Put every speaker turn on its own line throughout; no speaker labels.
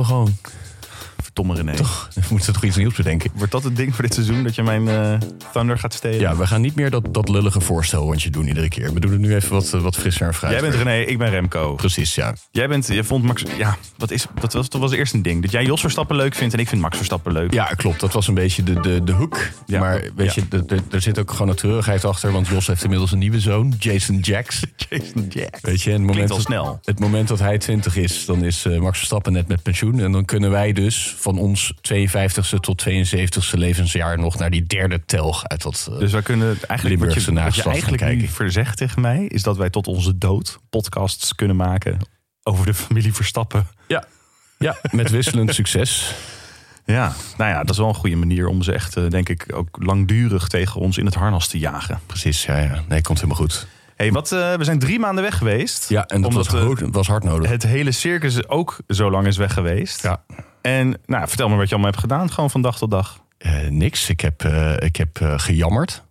Eh, gewoon.
Verdomme René.
Toch, we moeten toch iets nieuws bedenken.
Wordt dat het ding voor dit seizoen dat je mijn eh, Thunder gaat stelen?
Ja, we gaan niet meer dat, dat lullige voorstelrondje doen iedere keer. We doen het nu even wat, eh, wat frisser en fruit.
Jij bent René, ik ben Remco.
Precies, ja.
Jij bent, je vond Max, ja, wat is, dat was, dat was eerst een ding. Dat jij Jos Verstappen leuk vindt en ik vind Max Verstappen leuk.
Ja, klopt. Dat was een beetje de, de, de hoek.
Ja.
maar weet
Ja.
je, de- de- er zit ook gewoon een treurigheid achter. Want Jos heeft inmiddels een nieuwe zoon, Jason Jacks.
Jason Jack.
Weet je, en het moment,
al
dat-
snel.
het moment dat hij 20 is, dan is eh, Max Verstappen net met pensioen. En dan kunnen wij dus van ons 52e tot 72e levensjaar nog naar die derde telg uit dat. eh,
Dus wij kunnen eigenlijk wat
Limburgse
je, wat je
nageslacht gaan
eigenlijk nu
kijken.
verzegt tegen mij is dat wij tot onze dood podcasts kunnen maken over de familie Verstappen.
ja. ja, met wisselend succes.
Ja, nou ja, dat is wel een goede manier om ze echt, eh, denk ik, ook langdurig tegen ons in het harnas te jagen.
Precies, ja, ja. Nee, komt helemaal goed.
hey, wat, eh, we zijn drie maanden weg geweest.
Ja, en dat
omdat
was,
eh,
hard- was hard nodig.
het hele circus ook zo lang is weg geweest.
ja.
En nou, vertel me wat je allemaal hebt gedaan, gewoon van dag tot dag.
Eh, niks. Ik heb, eh, ik heb eh, gejammerd.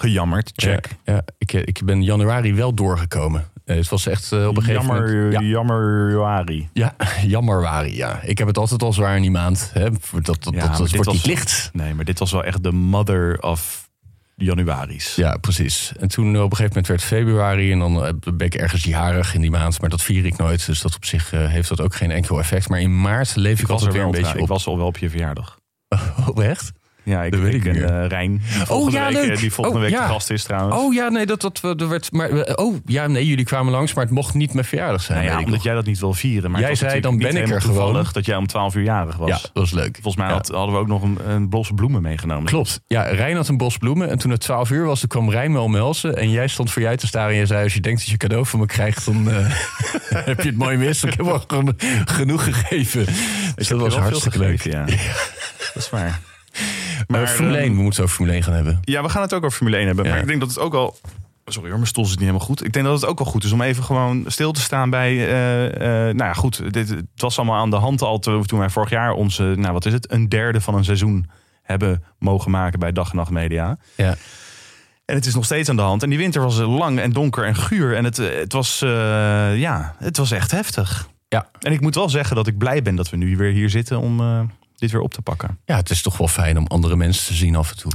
Gejammerd, check.
Ja, ja. ik, eh, ik ben januari wel doorgekomen. Eh, het was echt eh, op een gegeven
Jammer,
moment... Ja.
jammerwari.
Ja, jammerwari, ja. Ik heb het altijd al zwaar in die maand. Hè. Dat, dat, dat,
maar
dat
dit
wordt
was-
niet licht.
Nee, maar dit was wel echt de mother of januaris.
Ja, precies. En toen eh, op een gegeven moment werd februari en dan eh, ben ik ergens jarig in die maand. Maar dat vier ik nooit, dus dat op zich eh, heeft dat ook geen enkel effect. Maar in maart leef ik,
Ik was
altijd
er
weer
wel
een
beetje
beetje
Ik
op.
was al wel op je verjaardag.
Oprecht?
Ja, ik,
Dat weet
ik
ik
en
niet
eh, Rijn. die volgende
ja,
week,
leuk.
eh, Die volgende
Oh,
week
ja.
de gast is trouwens. Nou
Oh ja, nee, dat, dat, we- er werd, maar, eh, oh, ja, nee, jullie kwamen langs, maar het mocht niet mijn verjaardag zijn.
Nou ja,
weet ik
omdat
nog.
jij dat niet wil vieren. Maar
Jij
het was
zei,
natuurlijk
dan
niet
ben ik er
helemaal
gewoon.
toevallig dat jij om 12 uur jarig was.
ja, dat was leuk.
Volgens mij
Ja.
had- hadden we ook nog een, een blos bloemen meegenomen.
Klopt. Ja, Rijn had een bos bloemen. En toen het 12 uur was, toen kwam Rijn me omhelzen. En jij stond voor jij te staren. En jij zei: Als je denkt dat je cadeau van me krijgt, dan eh, heb je het mooi mis. Ik heb al gewoon genoeg gegeven. Dus dat
Ik heb
was
je wel veel
hartstikke leuk.
gegeven, Ja. dat is waar.
Maar Formule
ehm,
1, we moeten het over Formule 1 gaan hebben.
Ja, we gaan het ook over Formule 1 hebben. Maar
Ja.
ik denk dat het ook al. Sorry hoor, mijn stoel zit niet helemaal goed. Ik denk dat het ook wel goed is om even gewoon stil te staan bij... eh, eh, nou ja, goed, dit, het was allemaal aan de hand al te- toen wij vorig jaar onze... Nou, wat is het? Een derde van een seizoen hebben mogen maken bij Dag en Nacht Media.
Ja.
En het is nog steeds aan de hand. En die winter was eh, lang en donker en guur. En het, eh, het, was, eh, ja, het was echt heftig.
Ja.
En ik moet wel zeggen dat ik blij ben dat we nu weer hier zitten om eh, dit weer op te pakken.
ja, het is toch wel fijn om andere mensen te zien af en toe.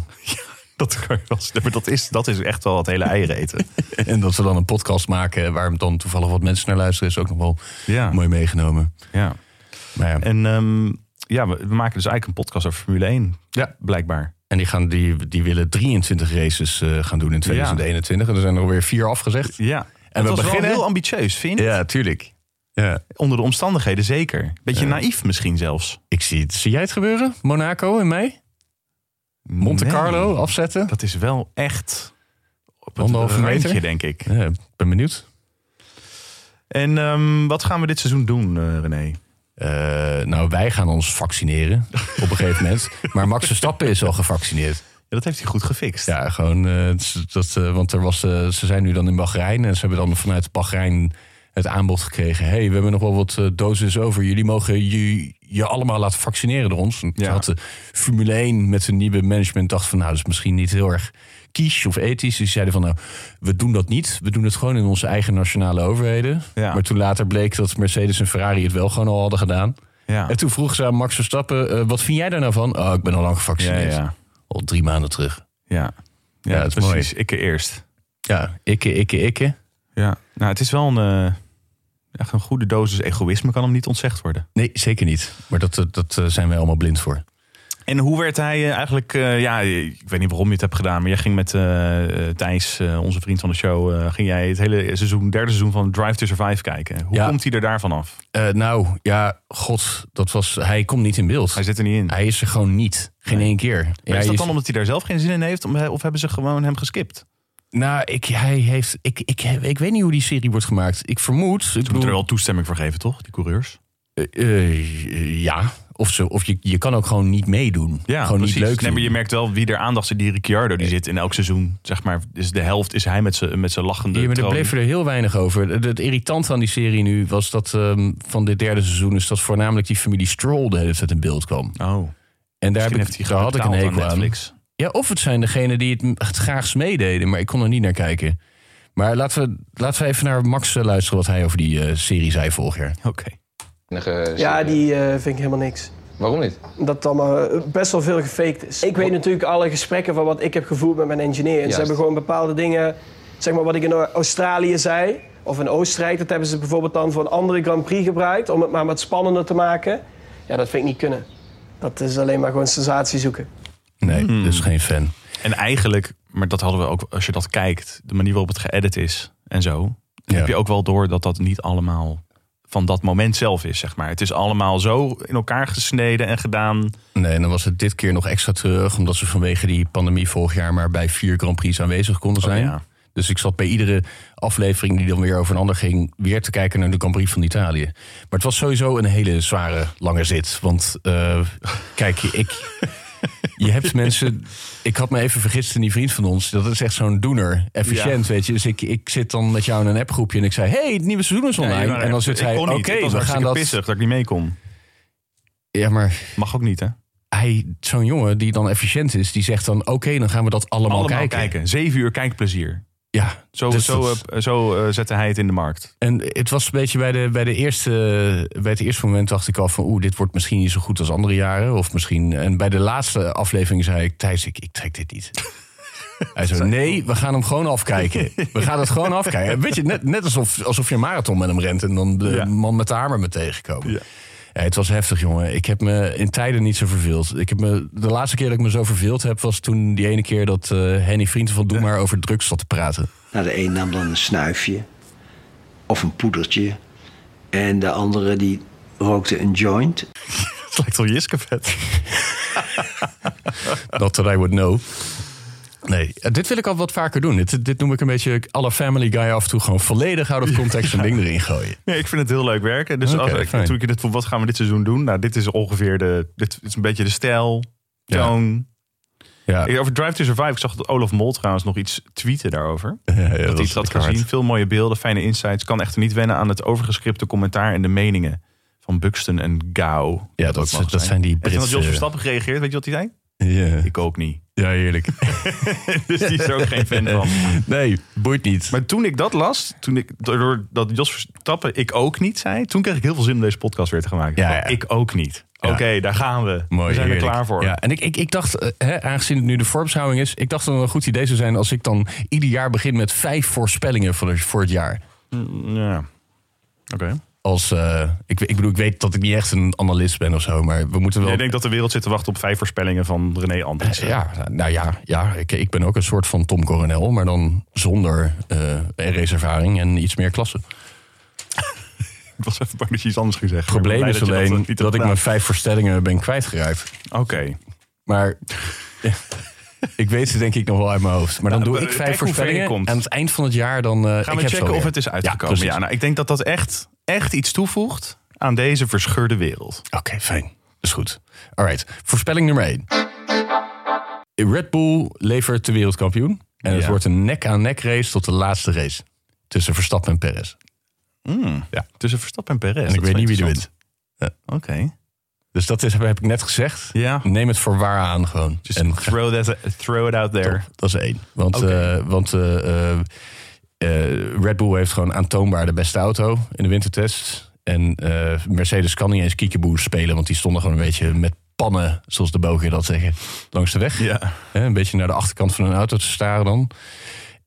Dat, kan je wel zeggen. maar dat, is, dat is echt wel het hele eieren eten.
En dat we dan een podcast maken waar dan toevallig wat mensen naar luisteren, is ook nog wel
ja.
mooi meegenomen.
ja.
Maar ja.
En ehm, ja, we, we maken dus eigenlijk een podcast over Formule 1.
Ja.
Blijkbaar.
En die, gaan, die, die willen 23 races eh, gaan doen in 2021. En er zijn er alweer vier afgezegd.
Ja. En
En
we
we
was
beginnen-
wel heel ambitieus, vind je?
Ja, tuurlijk. Ja.
Onder de omstandigheden zeker. Beetje
Ja.
naïef misschien zelfs.
Ik zie het. Zie jij het gebeuren? Monaco in mei? Monte
Nee.
Carlo afzetten?
Dat is wel echt op het
Anderhalve meter?
randje, denk ik.
Ja, ik ben benieuwd.
En ehm, wat gaan we dit seizoen doen, eh, René?
Eh, nou, wij gaan ons vaccineren op een gegeven moment. Maar Max Verstappen is al gevaccineerd.
Ja, dat heeft hij goed gefixt.
Ja, gewoon. eh, dat, eh, want er was, eh, ze zijn nu dan in Bahrein. En ze hebben dan vanuit Bahrein het aanbod gekregen. Hé, hey, we hebben nog wel wat eh, doses over. Jullie mogen je, je allemaal laten vaccineren door ons. En toen
Ja.
had de Formule 1 met hun nieuwe management dacht van... nou, dat is misschien niet heel erg kies of ethisch. Die zeiden van, nou, we doen dat niet. We doen het gewoon in onze eigen nationale overheden.
Ja.
Maar toen later bleek dat Mercedes en Ferrari het wel gewoon al hadden gedaan.
Ja.
En toen vroeg ze aan Max Verstappen, eh, wat vind jij daar nou van? Oh, ik ben al lang
ja,
gevaccineerd.
ja.
Al drie maanden terug.
ja. Ja,
Ja, het is
precies. Ik eerst.
Ja, ikke, ikke, ikke.
Ja. Nou, het is wel een, eh, echt een goede dosis egoïsme kan hem niet ontzegd worden.
Nee, zeker niet. Maar dat, eh, dat eh, zijn wij allemaal blind voor.
En hoe werd hij eh, eigenlijk... eh, ja, ik weet niet waarom je het hebt gedaan... maar jij ging met eh, eh, Thijs, eh, onze vriend van de show... eh, ging jij het hele seizoen, derde seizoen van Drive to Survive kijken. Hoe
Ja.
komt hij er daarvan af?
Eh, nou, ja, god, dat was, hij komt niet in beeld.
Hij zit er niet in.
Hij is er gewoon niet. Geen één keer.
Maar
Ja,
is dat
je-
dan omdat hij daar zelf geen zin in heeft? om- Of hebben ze gewoon hem geskipt?
Nou, ik, hij heeft, ik, ik, ik, weet niet hoe die serie wordt gemaakt. Ik vermoed... Ik
Ze moeten
bedoel,
er wel toestemming voor geven, toch? Die coureurs.
eh, eh, ja, of, zo, of je, je kan ook gewoon niet meedoen. gewoon niet leuk
Nee, maar
doen.
je merkt wel wie er aandacht zit. Die Ricciardo, die zit in elk seizoen. Zeg maar, dus de helft is hij met zijn met zijn lachende
Ja, maar er
troon.
bleef er heel weinig over. Het- Het irritante aan die serie nu was dat ehm, van dit derde seizoen... is dat voornamelijk die familie Stroll de hele tijd in beeld kwam. En
Oh,
daar, heb
misschien
ik-
heeft hij
daar had ik een
betaald
hekel
aan
aan.
Netflix.
Ja, of het zijn degenen die het, m- het graagst meededen, maar ik kon er niet naar kijken. Maar laten we, laten we even naar Max eh, luisteren wat hij over die eh, serie zei vorig jaar.
Oké.
enige
Ja,
serie.
die eh, vind ik helemaal niks.
Waarom niet?
Dat het allemaal eh, best wel veel gefaked is. Ik weet natuurlijk alle gesprekken van wat ik heb gevoerd met mijn engineer. En ze
Juist.
hebben gewoon bepaalde dingen, zeg maar wat ik in Australië zei, of in Oostenrijk, dat hebben ze bijvoorbeeld dan voor een andere Grand Prix gebruikt, om het maar wat spannender te maken. Ja, dat vind ik niet kunnen. Dat is alleen maar gewoon sensatie zoeken.
Nee, dus geen fan.
En eigenlijk, maar dat hadden we ook als je dat kijkt, de manier waarop het geëdit is en zo,
Ja.
dan heb je ook wel door dat dat niet allemaal van dat moment zelf is, zeg maar. Het is allemaal zo in elkaar gesneden en gedaan.
Nee, en dan was het dit keer nog extra terug, omdat ze vanwege die pandemie vorig jaar maar bij vier Grand Prix aanwezig konden zijn.
Oh, ja.
Dus ik zat bij iedere aflevering die dan weer over een ander ging, weer te kijken naar de Grand Prix van Italië. Maar het was sowieso een hele zware, lange zit. Want eh, kijk, ik, je hebt mensen. Ik had me even vergist in die vriend van ons. Dat is echt zo'n doener. Efficiënt, weet je. Dus ik, ik zit dan met jou in een appgroepje en ik zei: hey, het nieuwe seizoen is online. en dan zit
Ik
hij:
kon
Oké,
niet. Ik
we gaan
was hartstikke
dat.
pissig dat ik niet mee kon.
Ja, maar
Mag ook niet, hè?
hij, zo'n jongen die dan efficiënt is, die zegt dan: Oké, dan gaan we dat allemaal, kijken.
Zeven uur kijkplezier.
Ja,
Zo,
dus
zo,
dat-
eh, zo eh, zette hij het in de markt.
En het was een beetje bij, de, bij, de eerste, bij het eerste moment dacht ik al van... oeh, dit wordt misschien niet zo goed als andere jaren. Of misschien... En bij de laatste aflevering zei ik... Thijs, ik, ik trek dit niet. Hij zei, nee, we gaan hem gewoon afkijken. We gaan het gewoon afkijken. Weet je, net, net alsof, alsof je een marathon met hem rent... en dan de
Ja.
man met de hamer me tegenkomen.
Ja.
Ja, het was heftig, jongen. Ik heb me in tijden niet zo verveeld. Ik heb me, de laatste keer dat ik me zo verveeld heb... was toen die ene keer dat eh Henny Vrienden van Doe maar over drugs zat te praten.
Nou, de een nam dan een snuifje of een poedertje. En de andere die rookte een joint.
Het lijkt wel Jiskevet.
Not that I would know. Nee, eh, dit wil ik al wat vaker doen. Dit, dit noem ik een beetje alle Family Guy af en toe gewoon volledig out of context een ding erin gooien.
Nee, ik vind het heel leuk werken. Dus
Oké,
als ik
fijn.
natuurlijk in dit van wat gaan we dit seizoen doen? Nou, dit is ongeveer de. Dit is een beetje de stijl,
Ja.
tone.
Ja,
Ik- Over Drive to Survive. Ik zag dat Olaf Mol trouwens nog iets tweeten daarover. dat hij iets had
lekker
gezien.
hard.
Veel mooie beelden, fijne insights. Kan echter niet wennen aan het overgescripte commentaar en de meningen van Buxton en Gao.
Ja, dat, dat, zijn die
En toen had Jos
Britse...
Verstappen gereageerd. Weet je wat hij zei?
Ja,
Ik ook niet.
ja, heerlijk.
Dus die is er ook geen fan van.
Nee, boeit niet.
Maar toen ik dat las, toen ik door dat Jos Verstappen ik ook niet zei, toen kreeg ik heel veel zin om deze podcast weer te gaan maken.
Ja,
Van,
ja.
Ik ook niet.
Ja.
Oké, daar gaan we.
Mooi,
we zijn er
heerlijk.
klaar voor.
Ja, en ik, ik, ik dacht, eh, hè, aangezien het nu de Forbes-houwing is... ik dacht dat het een goed idee zou zijn als ik dan ieder jaar begin... met vijf voorspellingen voor, het- voor het jaar.
Ja. Oké.
Als, eh, ik, ik bedoel, ik weet dat ik niet echt een analist ben of zo... maar we moeten wel...
Ik denk dat de wereld zit te wachten op vijf voorspellingen van René Anders.
Ja, nou ja, ja ik, ik ben ook een soort van Tom Coronel, maar dan zonder eh raceervaring en iets meer klasse.
Ik was even bang dat je iets anders ging zeggen.
Het probleem
Ik ben
is
blij
alleen
je eh,
dat,
niet
ik
hebt
mijn vijf voorstellingen ben kwijtgeraakt.
gedaan. Oké.
Maar ik weet ze denk ik nog wel uit mijn hoofd. Maar dan
Ja,
doe
maar
ik
kijk
vijf
hoe ver je
voorspellingen.
komt.
Aan het eind van het jaar dan... eh,
Gaan
ik
we
heb ze
checken
alweer.
of het is uitgekomen.
precies.
Ja, nou, ik denk dat dat echt, echt iets toevoegt aan deze verscheurde wereld.
Oké, fijn. Is goed. Alright, voorspelling nummer 1. Red Bull levert de wereldkampioen. En het
Ja.
wordt een nek-aan-nek race tot de laatste race. Tussen Verstappen en Perez.
Ja. Tussen Verstappen en Perez.
En ik
Dat is
weet
wel
niet wie er wint.
interessant. Oké.
Dus dat is, heb ik net gezegd.
Ja.
Neem het voor waar aan gewoon.
Just
en ga-
throw, that, throw it out there.
dat is één. Want,
Oké.
eh, want eh, eh, eh, Red Bull heeft gewoon aantoonbaar de beste auto in de wintertest. En eh, Mercedes kan niet eens kiekeboer spelen, want die stonden gewoon een beetje met pannen, zoals de bogen dat zeggen, langs de weg.
Ja.
Hè, een beetje naar de achterkant van een auto te staren dan.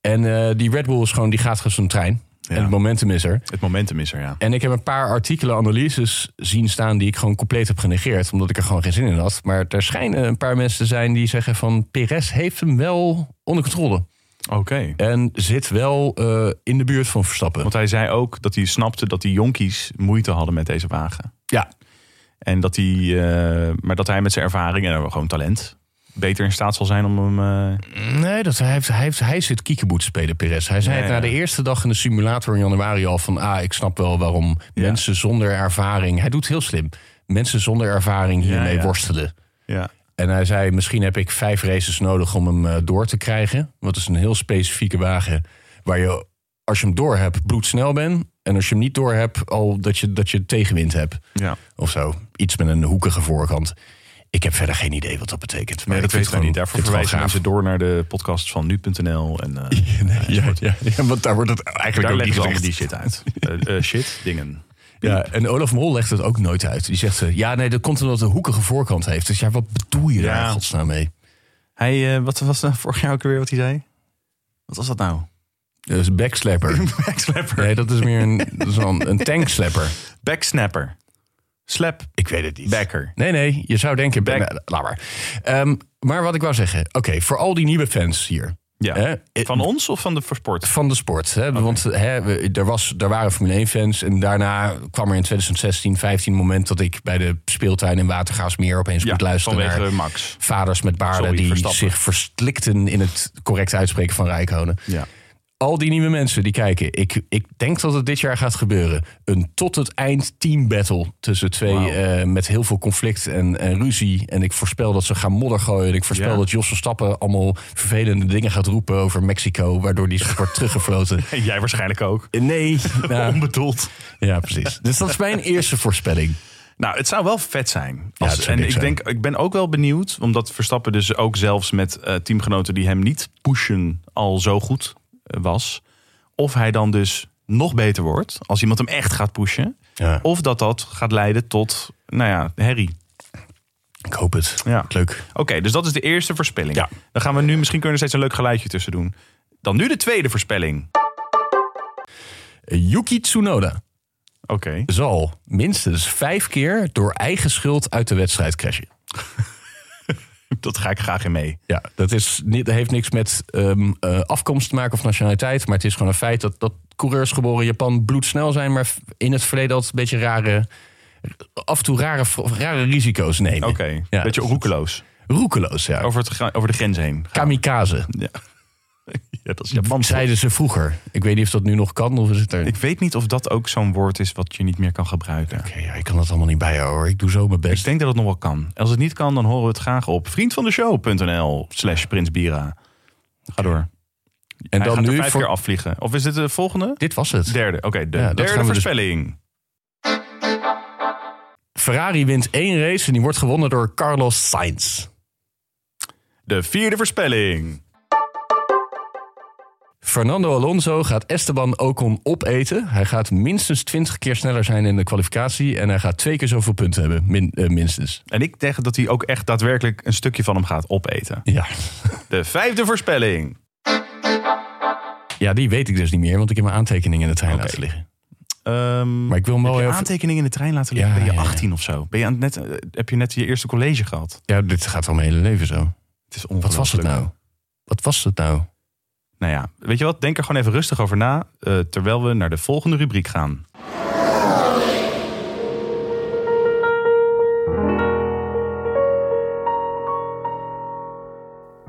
En eh, die Red Bull is gewoon, die gaat gewoon zijn trein. En het momentum is er.
Het momentum is er, ja.
En ik heb een paar artikelen, analyses zien staan die ik gewoon compleet heb genegeerd. Omdat ik er gewoon geen zin in had. Maar er schijnen een paar mensen te zijn die zeggen van... Perez heeft hem wel onder controle.
Oké.
En zit wel eh, in de buurt van Verstappen.
Want hij zei ook dat hij snapte dat die jonkies moeite hadden met deze wagen.
Ja,
En dat hij, eh, maar dat hij met zijn ervaring en gewoon talent beter in staat zal zijn om hem... eh,
nee, dat, hij, heeft, hij, heeft, hij zit kiekeboet te spelen, Perez. Hij zei
Ja,
het na
ja.
de eerste dag in de simulator in januari al van... ah, ik snap wel waarom
Ja.
mensen zonder ervaring... Hij doet het heel slim. Mensen zonder ervaring hiermee
ja.
worstelen.
ja.
En hij zei, misschien heb ik vijf races nodig om hem eh, door te krijgen. Want het is een heel specifieke wagen waar je, als je hem door hebt, bloedsnel bent. En als je hem niet door hebt, al dat je, dat je tegenwind hebt.
ja.
Of zo. Iets met een hoekige voorkant. Ik heb verder geen idee wat dat betekent. Maar
Nee, dat
ik vind
weten wij
het gewoon-
niet. Daarvoor
ik vind het
verwijzen
gewoon
mensen door naar de podcast van nu.nl. En eh,
gaaf. Ja, ja, ja, want daar wordt het eigenlijk
daar
ook niet
leggen ze al
gezegd.
die shit uit. Eh, eh, shit, dingen.
Ja, en Olaf Mol legt het ook nooit uit. Die zegt, eh, ja, nee, dat komt omdat het een hoekige voorkant heeft. Dus ja, wat bedoel je daar
Ja.
in godsnaam mee?
Hij, eh, wat was nou vorig jaar ook weer wat hij zei? Wat was dat nou?
Dus backslapper.
Backslapper.
Nee, dat is meer een, dat is wel een, een tankslepper.
Backsnapper. Slap.
Ik weet het niet.
Backer.
Nee, nee, je zou denken,
Back-
nee, laat maar. Ehm, maar wat ik wou zeggen, oké, voor al die nieuwe fans hier.
Ja.
Hè, eh,
Van ons of van de versport?
Van de sport. Hè? Want hè, we- er, was, er waren Formule 1-fans. En daarna kwam er in 2016, 15 moment dat ik bij de speeltuin in Watergaasmeer opeens moet luisteren
vanwege
naar
eh, Max.
vaders met baarden
Sorry,
die
Verstappen.
zich verslikten in het correct uitspreken van Rijkonen.
Ja.
Al die nieuwe mensen die kijken. Ik, ik denk dat het dit jaar gaat gebeuren. Een tot het eind team battle tussen twee
Wauw.
eh, met heel veel conflict en, en ruzie. En ik voorspel dat ze gaan modder gooien. En ik voorspel
Ja.
dat Jos Verstappen allemaal vervelende dingen gaat roepen over Mexico. Waardoor die wordt teruggefloten.
En jij waarschijnlijk ook.
Nee. nou,
Onbedoeld.
ja, precies. Dus dat is mijn eerste voorspelling.
Nou, het zou wel vet zijn.
Ja,
Als,
het zou
en
dik
ik
zijn.
denk, ik ben ook wel benieuwd, omdat Verstappen dus ook zelfs met eh, teamgenoten die hem niet pushen al zo goed eh, was, of hij dan dus nog beter wordt als iemand hem echt gaat pushen,
Ja,
of dat dat gaat leiden tot, nou ja, herrie.
ik hoop het.
Ja.
Leuk.
Oké, dus dat is de eerste voorspelling.
Ja.
Dan gaan we nu, misschien kunnen we er steeds een leuk geluidje tussen doen. Dan nu de tweede voorspelling.
Yuki Tsunoda
Oké.
zal minstens vijf keer door eigen schuld uit de wedstrijd crashen.
Dat ga ik graag in mee.
Ja, dat, is niet, dat heeft niks met ehm, eh, afkomst te maken of nationaliteit. Maar het is gewoon een feit dat, dat coureurs geboren in Japan bloedsnel zijn. Maar in het verleden altijd een beetje rare, af en toe rare, rare risico's nemen.
Oké.
Ja.
Beetje roekeloos.
Roekeloos, ja.
Over, het, gra- over de grens heen.
Kamikaze,
Ja. ja, dat is Japan.
zeiden ze vroeger. Ik weet niet of dat nu nog kan of is het er...
Ik weet niet of dat ook zo'n woord is wat je niet meer kan gebruiken.
Oké, ja, ik kan dat allemaal niet bijhouden hoor. Ik doe zo mijn
Ik
best.
denk dat het nog wel kan. Als het niet kan, dan horen we het graag op vriendvandeshow.nl slash prinsbira. Ga door.
En
Hij
dan
gaat er
nu,
vijf
voor-
keer afvliegen. Of is dit de volgende?
dit was het.
Derde. Oké, de
Ja, dat gaan we
derde
dus-
voorspelling.
Ferrari wint één race en die wordt gewonnen door Carlos Sainz.
De vierde voorspelling.
Fernando Alonso gaat Esteban Ocon opeten. Hij gaat minstens 20 keer sneller zijn in de kwalificatie. En hij gaat twee keer zoveel punten hebben, min- eh, minstens.
En ik denk dat hij ook echt daadwerkelijk een stukje van hem gaat opeten.
Ja.
De vijfde voorspelling.
ja, die weet ik dus niet meer, want ik heb mijn aantekeningen in het trein laten liggen.
Ehm,
Maar ik wil
heb
mooi
je
even...
aantekeningen in de trein laten liggen?
Ja,
ben je
ja, ja.
18 of zo? Ben je aan het net, eh, heb je net je eerste college gehad?
Ja, dit gaat al mijn hele leven zo.
Het is
Wat was het
ongelooflijk.
nou? Wat was het nou?
Nou ja, weet je wat? Denk er gewoon even rustig over na. eh, terwijl we naar de volgende rubriek gaan.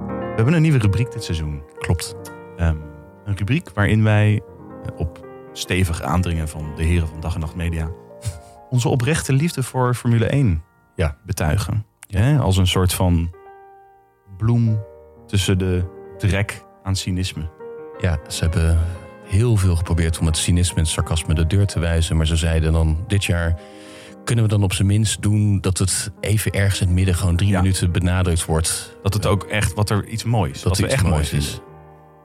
We hebben een nieuwe rubriek dit seizoen. Klopt. Ehm, een rubriek waarin wij eh, op stevig aandringen van de heren van Dag en Nacht Media... onze oprechte liefde voor Formule 1
Ja.
betuigen. Hè, als een soort van bloem tussen de drek aan cynisme.
Ja, ze hebben heel veel geprobeerd om het cynisme en het sarcasme de deur te wijzen. Maar ze zeiden dan dit jaar. Kunnen we dan op zijn minst doen dat het even ergens in het midden gewoon drie
Ja.
minuten benadrukt wordt?
Dat het ook echt, wat er iets moois,
Dat
wat we
iets
echt mooi
moois
vinden.
is.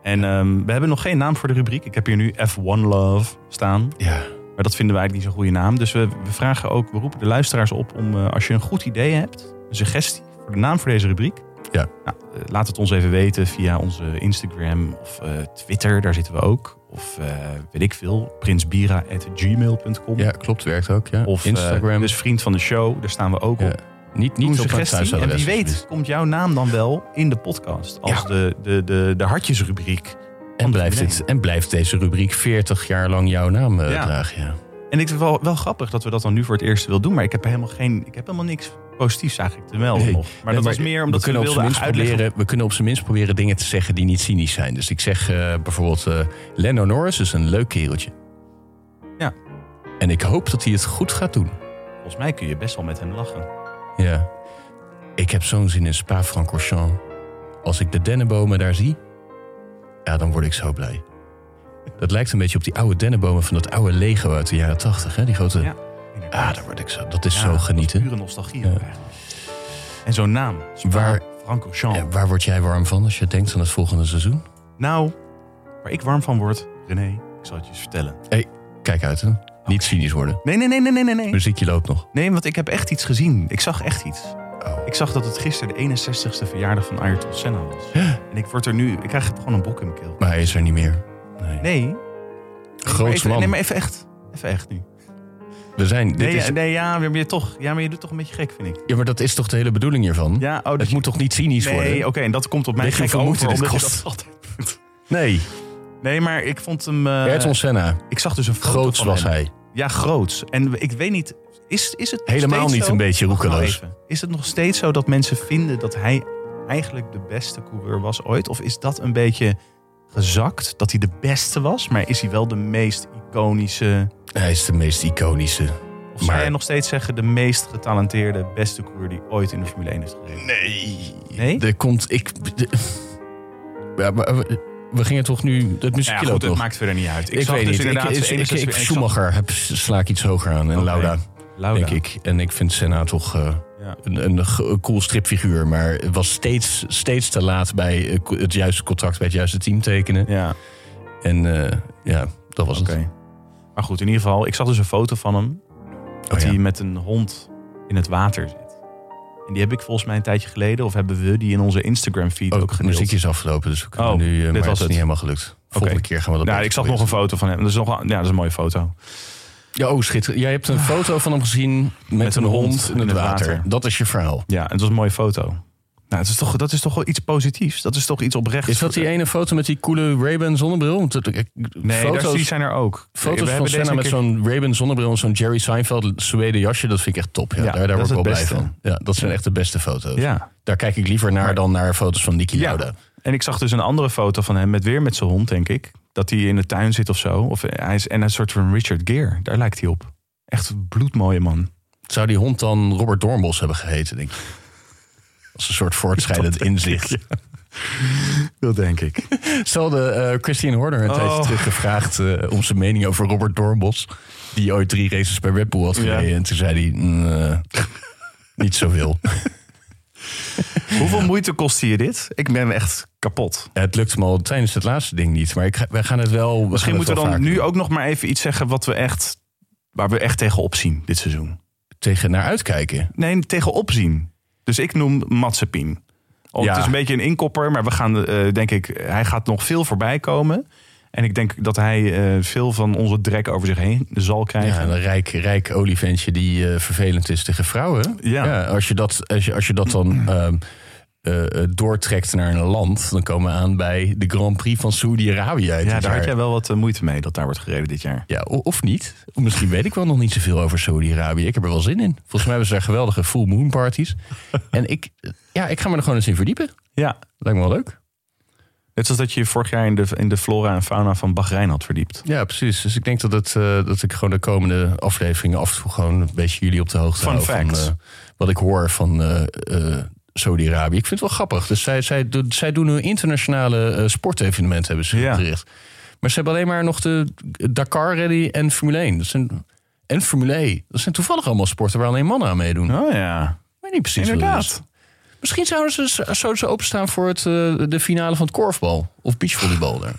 En ehm, we hebben nog geen naam voor de rubriek. Ik heb hier nu F1 Love staan.
Ja,
Maar dat vinden wij eigenlijk niet zo'n goede naam. Dus we, we vragen ook, we roepen de luisteraars op om eh, als je een goed idee hebt, een suggestie voor de naam voor deze rubriek.
Ja.
Nou, eh, laat het ons even weten via onze Instagram of eh, Twitter, daar zitten we ook. Of eh, weet ik veel, prinsbira.gmail.com.
ja klopt, werkt ook. Ja.
Of eh,
Instagram.
dus vriend van de show, daar staan we ook
Ja.
op.
niet
Doe
niet
een
op het
suggestie. En
thuisadres.
wie weet
alsjeblieft.
komt jouw naam dan wel in de podcast. Als
Ja.
de, de, de, de hartjesrubriek.
En blijft, dit, en blijft deze rubriek 40 jaar lang jouw naam eh,
Ja.
dragen. Ja.
En ik vind het wel, wel grappig dat we dat dan nu voor het eerst wil doen. Maar ik heb helemaal, geen, ik heb helemaal niks positiefs eigenlijk te melden
Nee.
nog. Maar dat
Nee,
was meer omdat
we
we,
kunnen, op zijn
wilden
minst
uitleggen.
proberen, we kunnen op zijn minst proberen dingen te zeggen die niet cynisch zijn. Dus ik zeg eh, bijvoorbeeld: eh Lando Norris is een leuk kereltje.
Ja.
En ik hoop dat hij het goed gaat doen.
Volgens mij kun je best wel met hem lachen.
Ja. Ik heb zo'n zin in Spa-Francorchamps. Als ik de dennenbomen daar zie, ja, dan word ik zo blij. Dat lijkt een beetje op die oude dennenbomen van dat oude Lego uit de jaren 80, hè? Die grote.
Ja,
Ah, daar word ik zo. Dat is
Ja,
zo
dat is
genieten.
Pure nostalgie
Ja.
ook eigenlijk. En zo'n naam.
Waar-
Waar? Franco Jean.
Ja, waar word jij warm van als je denkt aan het volgende seizoen?
Nou, waar ik warm van word, René, ik zal het je eens vertellen.
Kijk uit, hè? Niet cynisch worden.
Nee, nee, nee, nee, nee, nee, nee.
Muziekje loopt nog.
Nee, want ik heb echt iets gezien. Ik zag echt iets. Ik zag dat het gisteren de 61ste verjaardag van Ayrton Senna was. En ik word er nu... Ik krijg gewoon een brok in mijn keel.
Maar hij is er niet meer.
Nee. maar
Groots
even, Nee, maar
man.
even echt. Even echt nu.
We zijn. Dit
Nee,
is,
ja, nee ja, maar je toch, ja, maar je doet toch een beetje gek, vind ik.
ja, maar dat is toch de hele bedoeling hiervan?
Ja, oh,
Het
je-
moet toch niet cynisch
Nee,
worden?
oké, en dat komt op mij
Weet je
gek
hoeveel
over,
moeite dit
omdat je
kost?
dat altijd doet.
Nee.
Nee, maar ik vond hem... eh,
Ayrton Senna.
ik zag dus een foto
Groots
van
was
hem.
hij.
Ja, groots. En ik weet niet, is, is het nog
Helemaal
steeds
niet
zo?
een beetje
Wacht nou
roekeloos.
even. Is het nog steeds zo dat mensen vinden dat hij eigenlijk de beste coureur was ooit? Of is dat een beetje gezakt, dat hij de beste was? Maar is hij wel de meest iconische...
Hij is de meest iconische.
Of zou
Maar-
jij nog steeds zeggen de meest getalenteerde, beste coureur die ooit in de Formule 1 is gereden?
Nee.
Nee?
Er komt. Ik. de- ja, maar we, we gingen toch nu. Het
Nou
muziekje
ja, goed,
loopt
het
nog.
maakt verder niet uit.
ik
zag
weet
dus
niet. Ik,
inderdaad
ik,
zijn
ik,
61
ik-
en zag-
Schumacher heb, sla ik iets hoger aan. En
Oké.
Lauda,
Lauda.
denk ik. En ik vind Senna toch eh,
Oh, Ja.
een, een, g- een cool stripfiguur. Maar het was steeds, steeds te laat bij eh, co- het juiste contract bij het juiste team tekenen.
Ja,
En eh, ja, dat was
oké.
het.
Maar goed, in ieder geval, ik zag dus een foto van hem. Dat
Oh, ja.
hij met een hond in het water zit. En die heb ik volgens mij een tijdje geleden, of hebben we die in onze Instagram feed
Oh,
ook
het
gedeeld.
muziekje is afgelopen, dus we kunnen
Oh,
nu... eh, maar
dit was
het is
het.
niet helemaal gelukt. Volgende
Oké.
keer gaan we dat
Nou,
beter
ik zag nog een
proberen.
foto van hem. Dat is, nog, een- ja, dat is een mooie foto.
Ja, oh, schitterend. Jij hebt een
Ah.
foto van hem gezien met, een, hond in het water.
water.
Dat is je verhaal.
Ja, en het was een mooie foto. Nou, het is toch, dat is toch wel iets positiefs. Dat is toch iets oprechts.
Is dat die ene foto met die coole Ray-Ban zonnebril? Want dat- ik-
Nee, daar-
foto's,
die zijn er ook. We
foto's
hebben
van
deze
Senna
een
met
keer-
zo'n Ray-Ban zonnebril en zo'n Jerry Seinfeld Zweden jasje, dat vind ik echt top. Ja.
Ja,
daar daar
dat
word
is
ik wel
het
blij
beste.
van. Ja, dat zijn echt de beste foto's.
Ja.
Daar kijk ik liever naar dan naar foto's van Niki
Ja.
Lauda.
En ik zag dus een andere foto van hem met weer met zijn hond, denk ik. Dat hij in de tuin zit of zo. Of eh, hij is, en een soort van Richard Gere. Daar lijkt hij op. Echt een bloedmooie man.
Zou die hond dan Robert Dornbos hebben geheten, denk ik? Als een soort voortschrijdend inzicht.
Dat denk ik.
Stel de eh Christian Horner een
Oh.
tijdje terug gevraagd eh, om zijn mening over Robert Dornbos. Die ooit drie races bij Red Bull had gereden.
Ja.
En toen zei hij, "Mm, eh, niet zoveel.
Hoeveel moeite kostte je dit? Ik ben echt kapot.
het lukt hem al tijdens het laatste ding niet. Maar ik, ga- wij gaan het wel... we gaan
Misschien
het
moeten we
wel
dan
vaker
nu
doen.
ook nog maar even iets zeggen wat we echt, waar we echt tegen opzien dit seizoen.
Tegen naar uitkijken.
Nee, tegen opzien. Dus ik noem Matsepin. Oh,
Ja.
Het is een beetje een inkopper, maar we gaan, eh, denk ik, hij gaat nog veel voorbij komen. En ik denk dat hij eh, veel van onze drek over zich heen zal
Ja,
krijgen.
een rijk, rijk olifantje die eh, vervelend is tegen vrouwen.
Ja.
als, je dat, als, je, als je dat dan ehm, eh, eh, doortrekt naar een land... dan komen we aan bij de Grand Prix van Saudi-Arabië. uit
Ja,
dit
daar had
jaar.
jij wel wat eh, moeite mee dat daar wordt gereden dit jaar.
Ja, o- of niet. Misschien weet ik wel nog niet zoveel over Saudi-Arabië. Ik heb er wel zin in. Volgens mij hebben ze daar geweldige full moon parties. En ik, ja, ik ga me er gewoon eens in verdiepen.
Ja.
Lijkt me wel leuk.
Net zoals dat je je vorig jaar in de, in de flora en fauna van Bahrein had verdiept.
Ja, precies. Dus ik denk dat, het, eh, dat ik gewoon de komende afleveringen af en toe gewoon een beetje jullie op de hoogte
Fun
hou
facts.
van eh, wat ik hoor van eh, eh, Saudi-Arabië. Ik vind het wel grappig. Dus zij, zij, do- zij doen een internationale eh, sportevenement hebben ze
Ja.
gericht. Maar ze hebben alleen maar nog de Dakar Rally en Formule 1. Dat zijn, en Formule E. Dat zijn toevallig allemaal sporten waar alleen mannen aan meedoen.
Oh ja,
Ik weet niet precies wat het is.
inderdaad.
Misschien zouden ze, zouden ze openstaan voor het, eh, de finale van het korfbal. Of beachvolleybal. daar.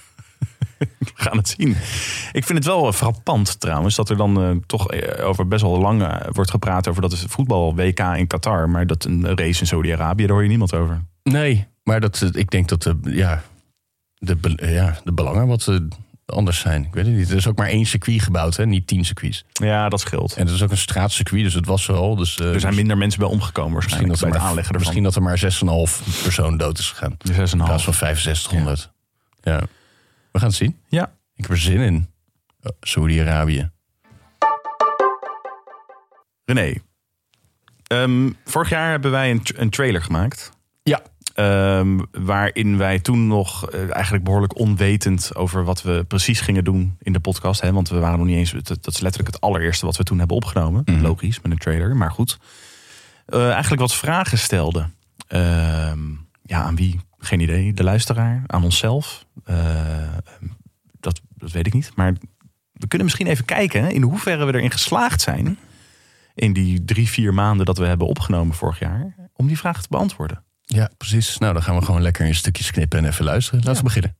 We gaan het zien. Ik vind het wel eh, frappant trouwens dat er dan eh, toch eh, over best wel lang eh, wordt gepraat over dat is voetbal WK in Qatar, maar dat een race in Saudi-Arabië daar hoor je niemand over.
Nee, maar dat, eh, ik denk dat de, ja, de, be- eh, ja, de belangen wat eh, anders zijn. Ik weet het niet. Er is ook maar één circuit gebouwd, hè? niet tien circuits.
Ja, dat scheelt.
En dat is ook een straatcircuit, dus het was er al. Dus, eh,
Er zijn minder mensen bij omgekomen
misschien,
waarschijnlijk
dat er
bij het
maar,
aanleggen ervan.
misschien dat er maar 6,5 persoon dood is gegaan. In plaats van
6,5.
6500. Ja. We gaan het zien.
Ja.
Ik heb er zin in. Eh, Saudi-Arabië.
René, ehm, vorig jaar hebben wij een, tra- een trailer gemaakt.
Ja.
Ehm, waarin wij toen nog eh, eigenlijk behoorlijk onwetend over wat we precies gingen doen in de podcast. Hè, want we waren nog niet eens. Dat, dat is letterlijk het allereerste wat we toen hebben opgenomen.
Mhm.
Logisch, met een trailer. Maar goed. Eh, eigenlijk wat vragen stelden. Ehm, ja, aan wie? Geen idee. De luisteraar, aan onszelf. Eh, dat, dat weet ik niet. Maar we kunnen misschien even kijken hè, in hoeverre we erin geslaagd zijn. In die drie, vier maanden dat we hebben opgenomen vorig jaar. Om die vraag te beantwoorden.
Ja, precies. Nou, dan gaan we gewoon lekker in stukjes knippen en even luisteren. Laten we beginnen.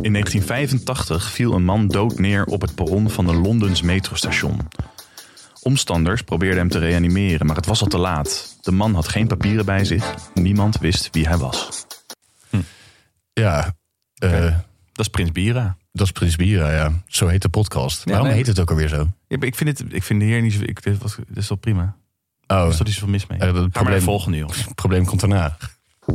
In 1985 viel een man dood neer op het perron van een Londens metrostation. Omstanders probeerden hem te reanimeren, maar het was al te laat. De man had geen papieren bij zich. Niemand wist wie hij was.
Ja, eh,
Dat is Prins Bira.
dat is Prins Bira, ja. Zo heet de podcast. Waarom
nee.
heet het ook alweer zo?
Ja, maar ik vind het, ik vind hier niet zo. Ik, dit, was, dit is wel prima. Er
Oh,
is toch niet zoveel mis mee.
Eh, dat
Ga maar naar
probleem-
de volgende, joh.
het probleem komt daarna.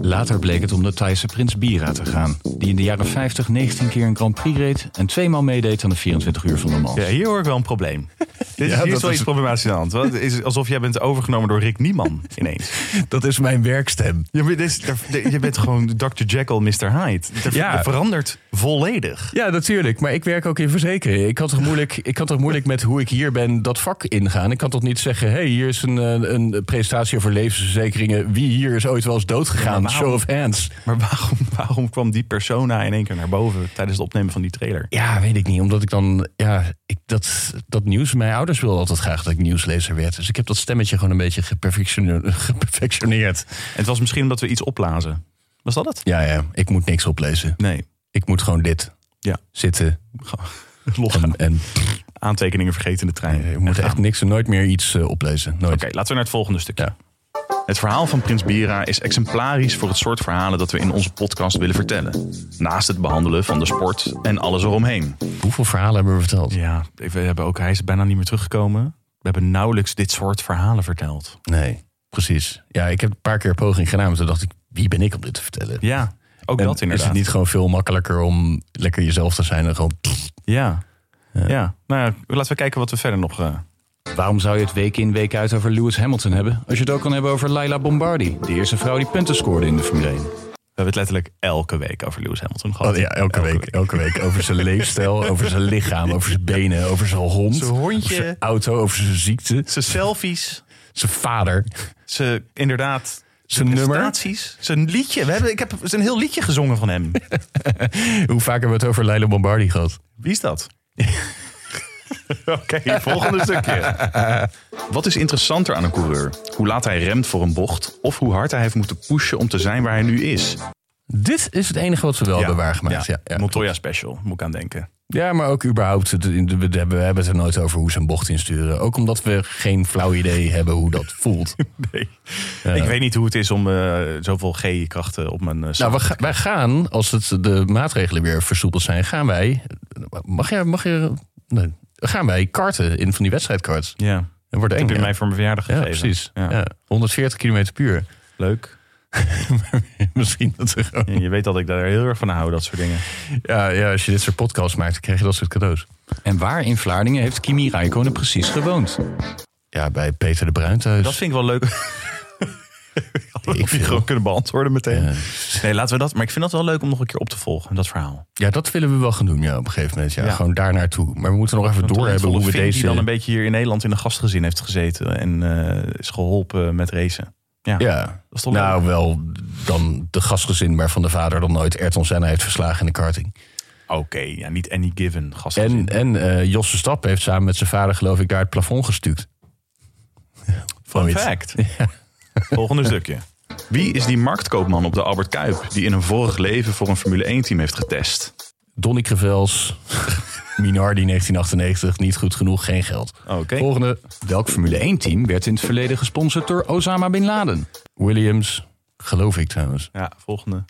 Later bleek het om de Thaise prins Bira te gaan, die in de jaren 50 19 keer een Grand Prix reed en tweemaal meedeed aan de 24 uur van Le Mans.
Ja, hier hoor ik wel een probleem. Dit is,
Ja,
hier
dat
is wel
is-
iets problematisch aan de hand. Want Het is alsof jij bent overgenomen door Rick Nieman ineens.
Dat is mijn werkstem.
Ja, maar dit is- daar- daar- je bent gewoon Dr. Jekyll, Mr. Hyde. Dat
Ja.
verandert volledig.
Ja, natuurlijk. Maar ik werk ook in verzekering. Ik kan toch moeilijk, ik kan toch moeilijk met hoe ik hier ben dat vak ingaan. Ik kan toch niet zeggen, hé, hey, hier is een, eh, een presentatie over levensverzekeringen. Wie hier is ooit wel eens doodgegaan?
maar waarom-
Show of hands.
Maar waarom, waarom kwam die persona in één keer naar boven tijdens het opnemen van die trailer?
Ja, weet ik niet. Omdat ik dan, ja, ik, dat, dat nieuws, mijn ouders wilden altijd graag dat ik nieuwslezer werd. Dus ik heb dat stemmetje gewoon een beetje geperfectione- geperfectioneerd.
En het was misschien omdat we iets opblazen. Was dat het?
Ja, ja, ik moet niks oplezen.
Nee.
Ik moet gewoon dit
Ja.
zitten.
Loggen.
En, en eh,
Aantekeningen vergeten in de trein.
ik moet echt niks en nooit meer iets eh, oplezen. Nooit.
Oké, laten we naar het volgende stukje.
Ja.
Het verhaal van Prins Bira is exemplarisch voor het soort verhalen dat we in onze podcast willen vertellen. Naast het behandelen van de sport en alles eromheen.
Hoeveel verhalen hebben we verteld?
Ja, we hebben ook, hij is bijna niet meer teruggekomen. We hebben nauwelijks dit soort verhalen verteld.
Nee, precies. Ja, ik heb een paar keer een poging gedaan, maar toen dacht ik, wie ben ik om dit te vertellen?
Ja, ook
En
dat inderdaad.
Is het niet gewoon veel makkelijker om lekker jezelf te zijn en gewoon...
Ja.
Ja.
Ja. nou ja, laten we kijken wat we verder nog... eh,
Waarom zou je het week in week uit over Lewis Hamilton hebben, als je het ook kan hebben over Laila Bombardi, de eerste vrouw die punten scoorde in de Formule 1?
we hebben het letterlijk elke week over Lewis Hamilton gehad.
Oh, ja, elke week, elke week. Over zijn leefstijl, over zijn lichaam, over zijn benen, over zijn hond.
Zijn hondje.
Over zijn auto, over zijn ziekte.
Zijn selfies,
Zijn vader.
zijn inderdaad...
Zijn nummer.
prestaties, Zijn liedje. We hebben, ik heb een heel liedje gezongen van hem.
Hoe vaak hebben we het over Leila Bombardi gehad?
Wie is dat? Oké, volgende stukje. Wat is interessanter aan een coureur? Hoe laat hij remt voor een bocht? Of hoe hard hij heeft moeten pushen om te zijn waar hij nu is?
Dit is het enige wat we wel hebben waargemaakt. Ja, ja.
Montoya special, moet ik aan denken.
Ja, maar ook überhaupt, het- we hebben we hebben het er nooit over hoe ze een bocht insturen. Ook omdat we geen flauw idee hebben hoe dat voelt.
Ik weet niet hoe het is om eh, zoveel G-krachten op mijn... eh, zak-
Nou, we ga- wij gaan, als het de maatregelen weer versoepeld zijn, gaan wij. Mag je. Mag je nee, gaan wij karten in van die wedstrijdkarts?
ja, dat
Dat wordt eng.
heb je
hè?
mij voor mijn verjaardag
ja,
gegeven.
precies.
Ja.
Ja, 140 km puur.
Leuk.
Misschien dat er gewoon.
En je weet dat ik daar heel erg van hou, dat soort dingen.
Ja, ja, als je dit soort podcasts maakt, dan krijg je dat soort cadeaus.
En waar in Vlaardingen heeft Kimi Räikkönen precies gewoond?
Ja, bij Peter de Bruin thuis.
Dat vind ik wel leuk.
Ik
Ik
vind-
vind gewoon kunnen beantwoorden meteen.
Ja.
Nee, laten we dat. Maar ik vind dat wel leuk om nog een keer op te volgen, dat verhaal.
ja, dat willen we wel gaan doen ja, op een gegeven moment. Ja,
Ja.
Gewoon daar naartoe. Maar we moeten nog even doorhebben hoe we
Fink
deze...
die dan een beetje hier in Nederland in een gastgezin heeft gezeten en eh, is geholpen met racen. Ja,
Ja,
is toch
nou wel dan de gastgezin waarvan de vader dan nooit Ayrton Senna heeft verslagen in de karting.
oké, ja, niet any given gastgezin.
En, en eh Josse Stap heeft samen met zijn vader, geloof ik, daar het plafond gestuukt. Van
Perfect. Volgende stukje. Wie is die marktkoopman op de Albert Kuip die in een vorig leven voor een Formule 1 team heeft getest?
Donny Crevels, Minardi 1998, niet goed genoeg, geen geld.
Oh, Oké.
Volgende,
Welk Formule 1-team werd in het verleden gesponsord door Osama Bin Laden?
Williams, geloof ik trouwens.
Ja, volgende.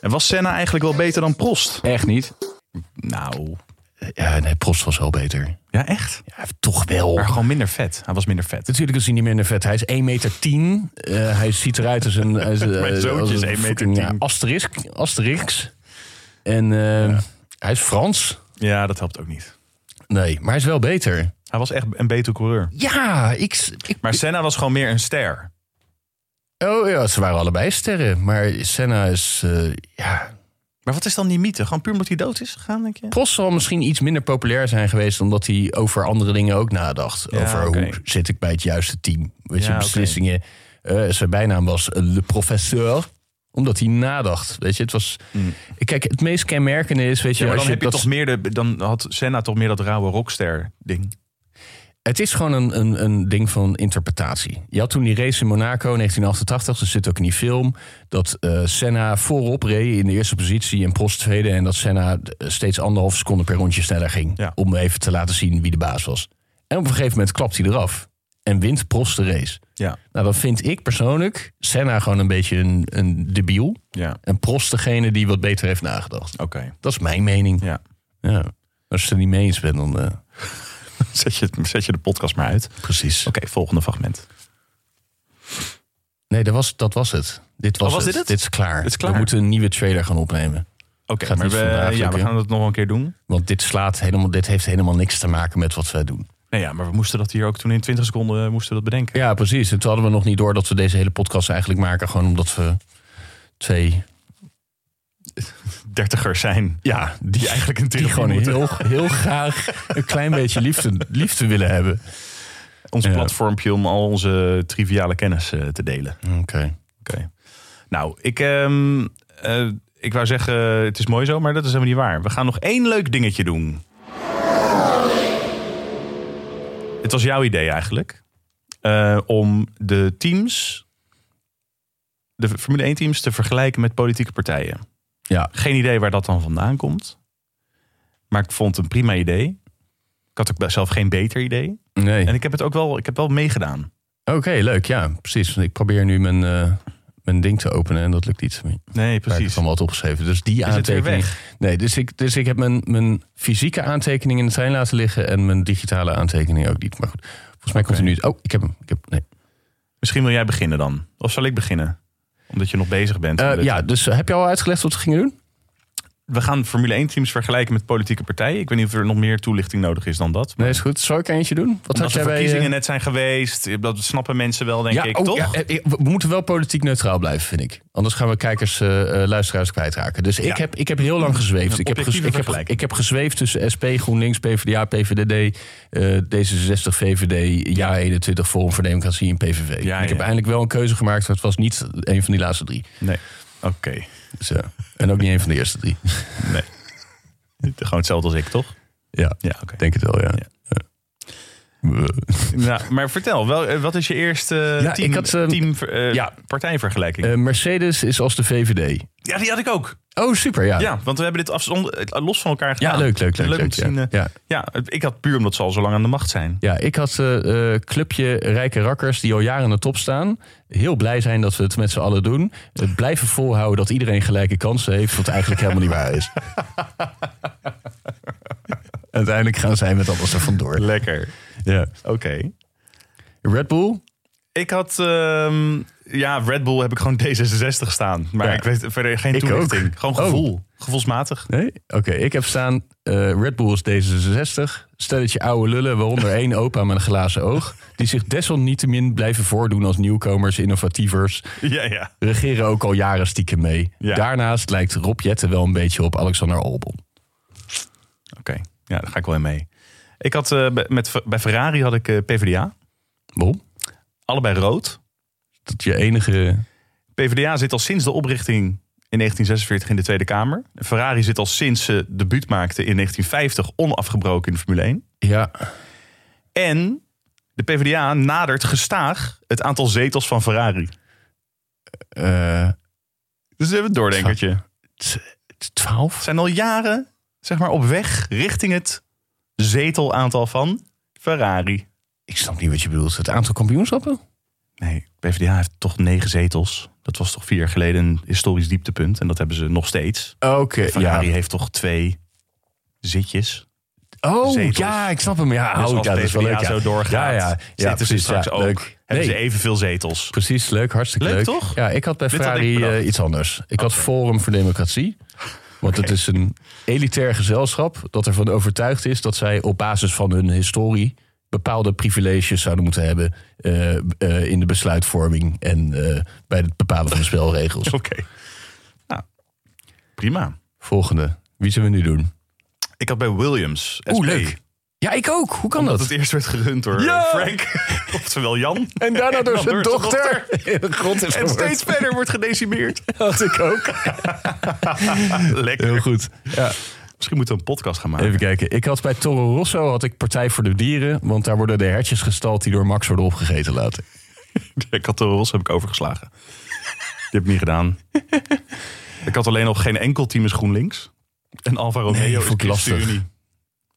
En was Senna eigenlijk wel beter dan Prost?
Echt niet.
Nou,
Ja, nee, Prost was wel beter.
ja echt. Dus-
Ja, toch wel.
Maar gewoon minder vet. Hij was minder vet.
Natuurlijk is hij niet minder vet. Hij is 1,10 meter. 10. Eh, hij ziet eruit als een... Als, eh,
Mijn zoontje
als
is
een
1,10 meter
fucking, ja, asterisk, asterix. En eh, hij is Frans.
Ja, dat helpt ook niet.
Nee, maar hij is wel beter.
Hij was echt een betere coureur.
Ja, ik, ik
Maar Senna was gewoon meer een ster.
Oh ja, ze waren allebei sterren. Maar Senna is. eh, ja.
Maar wat is dan die mythe? Gewoon puur omdat hij dood is gegaan, denk je?
Prost zal misschien iets minder populair zijn geweest. omdat hij over andere dingen ook nadacht.
Ja,
over
oké.
hoe zit ik bij het juiste team. Weet je,
Ja, oké.
beslissingen. Eh, zijn bijnaam was eh, Le Professeur omdat hij nadacht. Weet je, het was. Kijk, het meest kenmerkende is. Weet je,
Mm. Ja,
als
maar dan,
je
heb je
dat-
toch meer de, dan had Senna toch meer dat rauwe rockster-ding.
Het is gewoon een, een, een ding van interpretatie. Je had toen die race in Monaco 1988, dat zit ook in die film... dat eh, Senna voorop reed in de eerste positie en Prost tweede... en dat Senna eh, steeds anderhalf seconde per rondje sneller ging...
Ja.
om even te laten zien wie de baas was. En op een gegeven moment klapt hij eraf en wint Prost de race.
Ja,
Nou, dan vind ik persoonlijk Senna gewoon een beetje een, een debiel...
ja.
en Prost degene die wat beter heeft nagedacht.
Oké.
Dat is mijn mening.
Ja.
Ja. Als je het er niet mee eens bent, dan... eh,
Zet je, zet je de podcast maar uit. Oké,
precies.
volgende fragment.
Nee, dat was, dat was het. Dit Oh, was,
was
het.
dit het?
Dit is klaar.
Het is klaar.
We moeten een nieuwe trailer gaan opnemen.
Oké,
Gaat
maar
niet
we,
vandaag
ja, we
lukken.
gaan dat nog wel een keer doen.
Want dit, slaat helemaal, dit heeft helemaal niks te maken met wat wij doen.
Nee, ja, maar we moesten dat hier ook toen in 20 seconden eh, moesten we dat bedenken.
Ja, precies. En toen hadden we nog niet door dat we deze hele podcast eigenlijk maken. Gewoon omdat we twee...
Dertigers zijn.
Ja, die,
Die eigenlijk een
Ah, die
therapie
gewoon
moeten.
heel, heel graag een klein beetje liefde, liefde willen hebben.
Ons
Ja.
platformpje om al onze triviale kennis eh, te delen.
Oké.
Oké. Nou, ik, ehm, eh, ik wou zeggen, het is mooi zo, maar dat is helemaal niet waar. We gaan nog één leuk dingetje doen. Het was jouw idee eigenlijk. eh, om de teams, de Formule 1 teams, te vergelijken met politieke partijen.
Ja.
Geen idee waar dat dan vandaan komt. Maar ik vond het een prima idee. Ik had ook zelf geen beter idee.
Nee.
En ik heb het ook wel, ik heb wel meegedaan.
Oké, leuk. Ja, precies. Want Ik probeer nu mijn, eh, mijn ding te openen en dat lukt niet.
Nee,
Daar heb ik
precies.
allemaal wat opgeschreven. Dus die
het weer
aantekening. Nee, dus ik, dus ik heb mijn, mijn fysieke aantekening in de trein laten liggen en mijn digitale aantekening ook niet. Maar goed, volgens mij komt er nu. het- Oh, ik heb hem. Ik heb, nee.
Misschien wil jij beginnen dan. Of zal ik beginnen? Omdat je nog bezig bent.
Eh,
Met-
ja, dus eh, heb je al uitgelegd wat we gingen doen?
We gaan Formule 1 teams vergelijken met politieke partijen. Ik weet niet of er nog meer toelichting nodig is dan dat.
Nee, is goed. Zal ik eentje doen? Wat
Omdat
had
de
jij bij. eh,
verkiezingen net zijn geweest. eh, Dat snappen mensen wel, denk
ja,
ik,
oh,
toch?
ja, eh, we moeten wel politiek neutraal blijven, vind ik. Anders gaan we kijkers, eh, eh, luisteraars kwijtraken. Dus ik,
Ja.
heb, ik heb heel lang gezweefd.
Een
Ik heb,
objectieve
ik, heb, ik
vergelijking.
heb gezweefd tussen SP, GroenLinks, PvdA, PVDD, eh, D66, VVD, JA21, Forum voor Democratie en PVV. ik
ja.
heb eindelijk wel een keuze gemaakt, maar het was niet een van die laatste drie.
Nee. Oké.
Dus, eh, en ook niet een van de eerste drie.
Nee. Gewoon hetzelfde als ik, toch?
ja,
Ja, oké.
denk het wel, ja.
Ja.
Ja.
Nou, maar vertel, wel, eh, wat is je eerste
Ja,
team,
ik had, ehm,
team eh,
ja.
partijvergelijking?
Eh, Mercedes is als de VVD.
ja, die had ik ook.
Oh, super, ja.
Ja, want we hebben dit afzonder- eh, los van elkaar
Ja,
gedaan.
leuk, leuk, leuk.
Leuk om
leuk,
te
ja.
zien, eh,
ja.
Ja, ik had puur omdat ze al zo lang aan de macht zijn.
Ja, ik had eh, eh, clubje rijke rakkers die al jaren aan de top staan. Heel blij zijn dat we het met z'n allen doen. Het blijven volhouden dat iedereen gelijke kansen heeft, wat eigenlijk helemaal niet waar is. Uiteindelijk gaan zij met alles er vandoor.
Lekker.
Ja.
Oké.
Red Bull?
Ik had, ehm, ja, Red Bull heb ik gewoon D66 staan. Maar
Ja.
ik weet verder geen
Ik
toelichting.
ook.
Gewoon
Oh.
gevoel. Gevoelsmatig.
Nee? Oké, ik heb staan eh, Red Bull is D66. Stelletje oude lullen, waaronder één opa met een glazen oog. Die zich desalniettemin blijven voordoen als nieuwkomers, innovatievers.
Ja, ja.
regeren ook al jaren stiekem mee.
Ja.
Daarnaast lijkt Rob Jetten wel een beetje op Alexander Albon.
Oké, ja, daar ga ik wel in mee. Ik had, eh, bij- met, bij Ferrari had ik eh, PvdA.
Waarom?
Allebei rood.
Dat je enige...
PvdA zit al sinds de oprichting in 1946 in de Tweede Kamer. Ferrari zit al sinds ze debuut maakte in 1950 onafgebroken in de Formule 1.
Ja,
En de PvdA nadert gestaag het aantal zetels van Ferrari.
eh,
Dus we hebben een doordenkertje.
t- t- 12?
zijn al jaren zeg maar, op weg richting het zetelaantal van Ferrari.
Ik snap niet wat je bedoelt. Het aantal kampioenschappen?
Nee, PvdA heeft toch negen zetels. Dat was toch vier jaar geleden een historisch dieptepunt. En dat hebben ze nog steeds.
Oké,
Ferrari
ja.
heeft toch twee zitjes.
Oh,
zetels.
ja, ik snap hem. Ja,
dus
oh,
als
ja, dat is
PvdA
wel leuk. Ja.
zo doorgaat,
ja, ja, ja,
zitten
precies,
ze straks
ja,
ook.
leuk.
Hebben ze
Nee.
evenveel zetels.
Precies, leuk, hartstikke leuk.
Leuk, toch?
Ja, ik had bij
Dit had
Ferrari
ik bedacht.
eh, iets anders. Ik had Forum voor Democratie. Want het is een elitair gezelschap dat ervan overtuigd is dat zij op basis van hun historie bepaalde privileges zouden moeten hebben eh, eh, in de besluitvorming en eh, bij het bepalen van de spelregels.
Oké. Nou, prima.
Volgende. Wie zullen we nu doen?
Ik had bij Williams.
Oeh,
SP,
leuk. Ja, ik ook. Hoe kan
Dat
dat?
het eerst werd gerund door
Ja!
Frank. Oftewel Jan.
En daarna door
dan
zijn
door zijn
dochter. In de grond is
En
geworden.
steeds verder wordt gedecimeerd.
had ik ook.
Lekker.
Heel goed. Ja.
Misschien moeten we een podcast gaan maken.
Even kijken. Ik had bij Toro Rosso had ik Partij voor de Dieren. Want daar worden de hertjes gestald die door Max worden opgegeten later.
De Catorils heb ik overgeslagen. Die heb ik niet gedaan. ik had alleen nog geen enkel team is GroenLinks. En Alfa Romeo
Nee,
is
vond ik lastig.
ChristenUnie.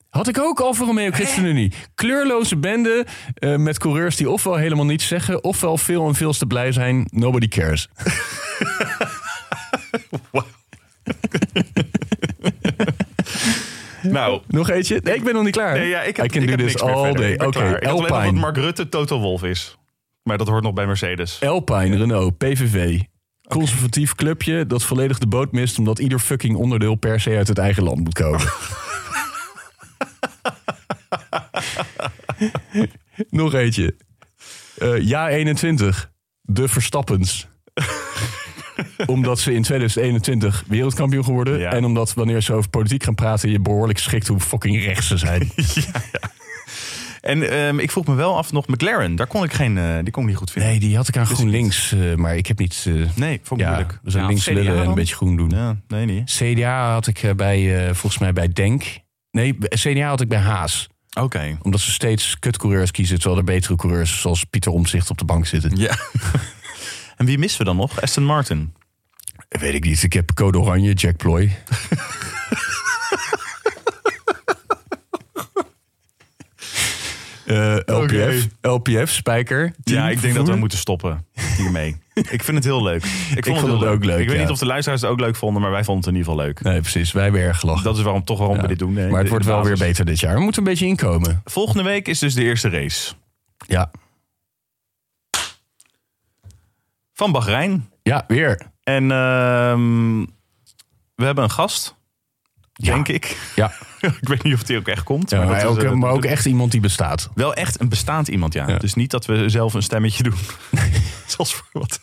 Had ik ook Alfa Romeo ChristenUnie. Kleurloze bende eh, met coureurs die ofwel helemaal niets zeggen... ofwel veel en veel te blij zijn. Nobody cares.
Nou,
Nog eentje? Nee, ik ben nog niet klaar.
nee, ja, ik heb,
I can
ik
do
heb
this
niks meer
dus all
verder.
day.
Ik ben
Oké,
klaar. Ik had alleen nog dat
Alpine.
Mark Rutte Toto Wolf is. Maar dat hoort nog bij Mercedes.
Alpine, Renault, PVV. Conservatief clubje dat volledig de boot mist... omdat ieder fucking onderdeel per se uit het eigen land moet komen. Nog eentje. Eh ja 21. De Verstappens. omdat ze in 2021 wereldkampioen geworden.
Ja.
En omdat wanneer ze over politiek gaan praten... je behoorlijk schikt hoe fucking rechts ze zijn.
En ehm, ik vroeg me wel af nog McLaren. Daar kon ik geen, eh, die kon ik niet goed vinden.
Nee, die had ik aan GroenLinks. eh, maar ik heb niet... eh,
Nee, vond ik
ja,
moeilijk.
we zijn
Ja,
links
CDA
lullen en een
dan?
beetje groen doen.
Ja, nee, niet.
CDA had ik eh, bij, eh, volgens mij bij Denk. Nee, bij- CDA had ik bij Haas.
Oké.
Omdat ze steeds kutcoureurs kiezen, terwijl er betere coureurs zoals Pieter Omzicht op de bank zitten.
Ja. en wie missen we dan nog? Aston Martin.
Eh, Weet ik niet. Ik heb code oranje, Jack Ploy. Eh, LPF, LPF, Spijker.
Ja,
Team
ik denk dat we
vervoer.
moeten stoppen hiermee. ik vind het heel leuk. Ik vond,
vond
heel
het ook leuk,
Ik weet
ja.
niet of de luisteraars het ook leuk vonden, maar wij vonden het in ieder geval leuk.
Nee, precies. Wij hebben erg gelachen.
Dat is waarom toch waarom we dit doen. Nee,
maar het
de-
wordt
de
wel weer
basis.
beter dit jaar. We moeten een beetje inkomen.
Volgende week is dus de eerste race
Ja,
van Bahrein.
ja weer.
En ehm, we hebben een gast,
Ja.
denk ik.
Ja.
ik weet niet of die ook echt komt.
Ja,
maar
maar,
dat is,
ook,
eh,
maar
dat-
ook echt iemand die bestaat.
Wel echt een bestaand iemand, ja.
Ja.
Dus niet dat we zelf een stemmetje doen. Zoals voor wat.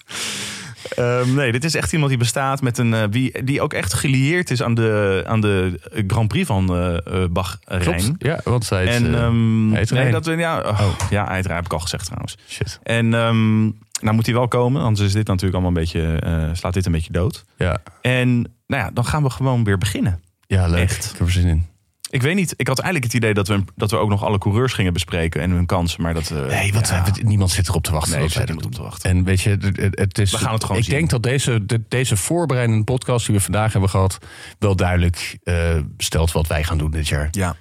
Ehm, nee, dit is echt iemand die bestaat met een. eh, wie, die ook echt gelieerd is aan de, aan de Grand Prix van eh eh,
Klopt.
Bahrein.
Ja, want zij is...
En
eh,
ehm,
hij heet
nee,
Rijn.
dat we. Ja, oh, ja Eitra heb ik al gezegd trouwens.
shit.
En ehm nou moet hij wel komen, anders is dit natuurlijk allemaal een beetje, eh, slaat dit een beetje dood.
Ja.
En nou ja, dan gaan we gewoon weer beginnen.
Ja, leuk.
Echt.
Ik heb er zin in.
Ik weet niet, ik had eigenlijk het idee dat we, dat we ook nog alle coureurs gingen bespreken en hun kansen, maar dat... eh,
Nee, want
ja,
eh, we- niemand zit erop te wachten.
nee,
wat
er
wij
zit niemand
doen.
op te wachten.
En weet je, het- het, het is,
We gaan het gewoon
ik
zien.
denk dat deze, de- deze voorbereidende podcast die we vandaag hebben gehad... wel duidelijk eh, stelt wat wij gaan doen dit jaar.
Ja.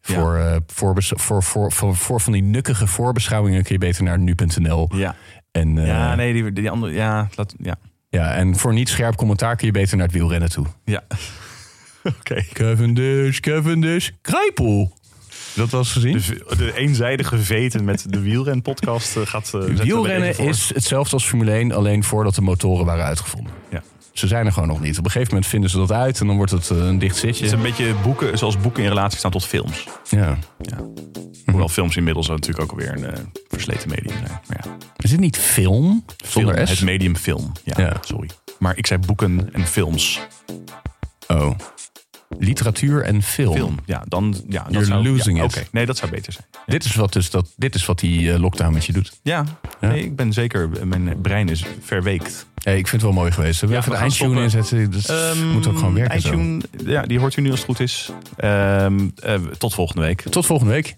Voor, eh, voorbes- voor, voor, voor, voor van die nukkige voorbeschouwingen kun je beter naar nu.nl.
Ja.
En, eh,
Ja, nee, die, die andere... Ja, dat, ja.
ja, en voor niet scherp commentaar kun je beter naar het wielrennen toe.
ja. Oké.
Cavendish, Cavendish, Grijpel. Dat was gezien?
De, de eenzijdige veten met de wielrenpodcast eh, gaat... eh, zetten we er
Wielrennen
even voor.
is hetzelfde als Formule 1, alleen voordat de motoren waren uitgevonden.
Ja.
Ze zijn er gewoon nog niet. Op een gegeven moment vinden ze dat uit en dan wordt het eh, een dicht
Het
zitje.
is een beetje boeken, zoals boeken in relatie staan tot films.
Ja.
Hoewel films inmiddels natuurlijk ook alweer een eh, versleten medium zijn. Maar ja.
Is dit niet film?
Film,
Zonder
Het
S?
medium film. Ja,
Ja.
sorry. Maar ik zei boeken en films.
Oh. Literatuur en film.
Film. Ja, dan... Ja, dat
You're
zou, ja,
losing it.
oké. Nee, dat zou beter zijn.
Dit, is wat dus dat, dit is wat die eh, lockdown met je doet.
Ja, Nee, ik ben zeker... Mijn brein is verweekt.
Hey, ik vind het wel mooi geweest. We
Ja,
even
we
de
gaan
eindtune inzetten. Dat
Ehm,
moet ook gewoon werken zo.
iTunes, ja, die hoort u nu als het goed is. Ehm, eh, tot volgende week.
Tot volgende week.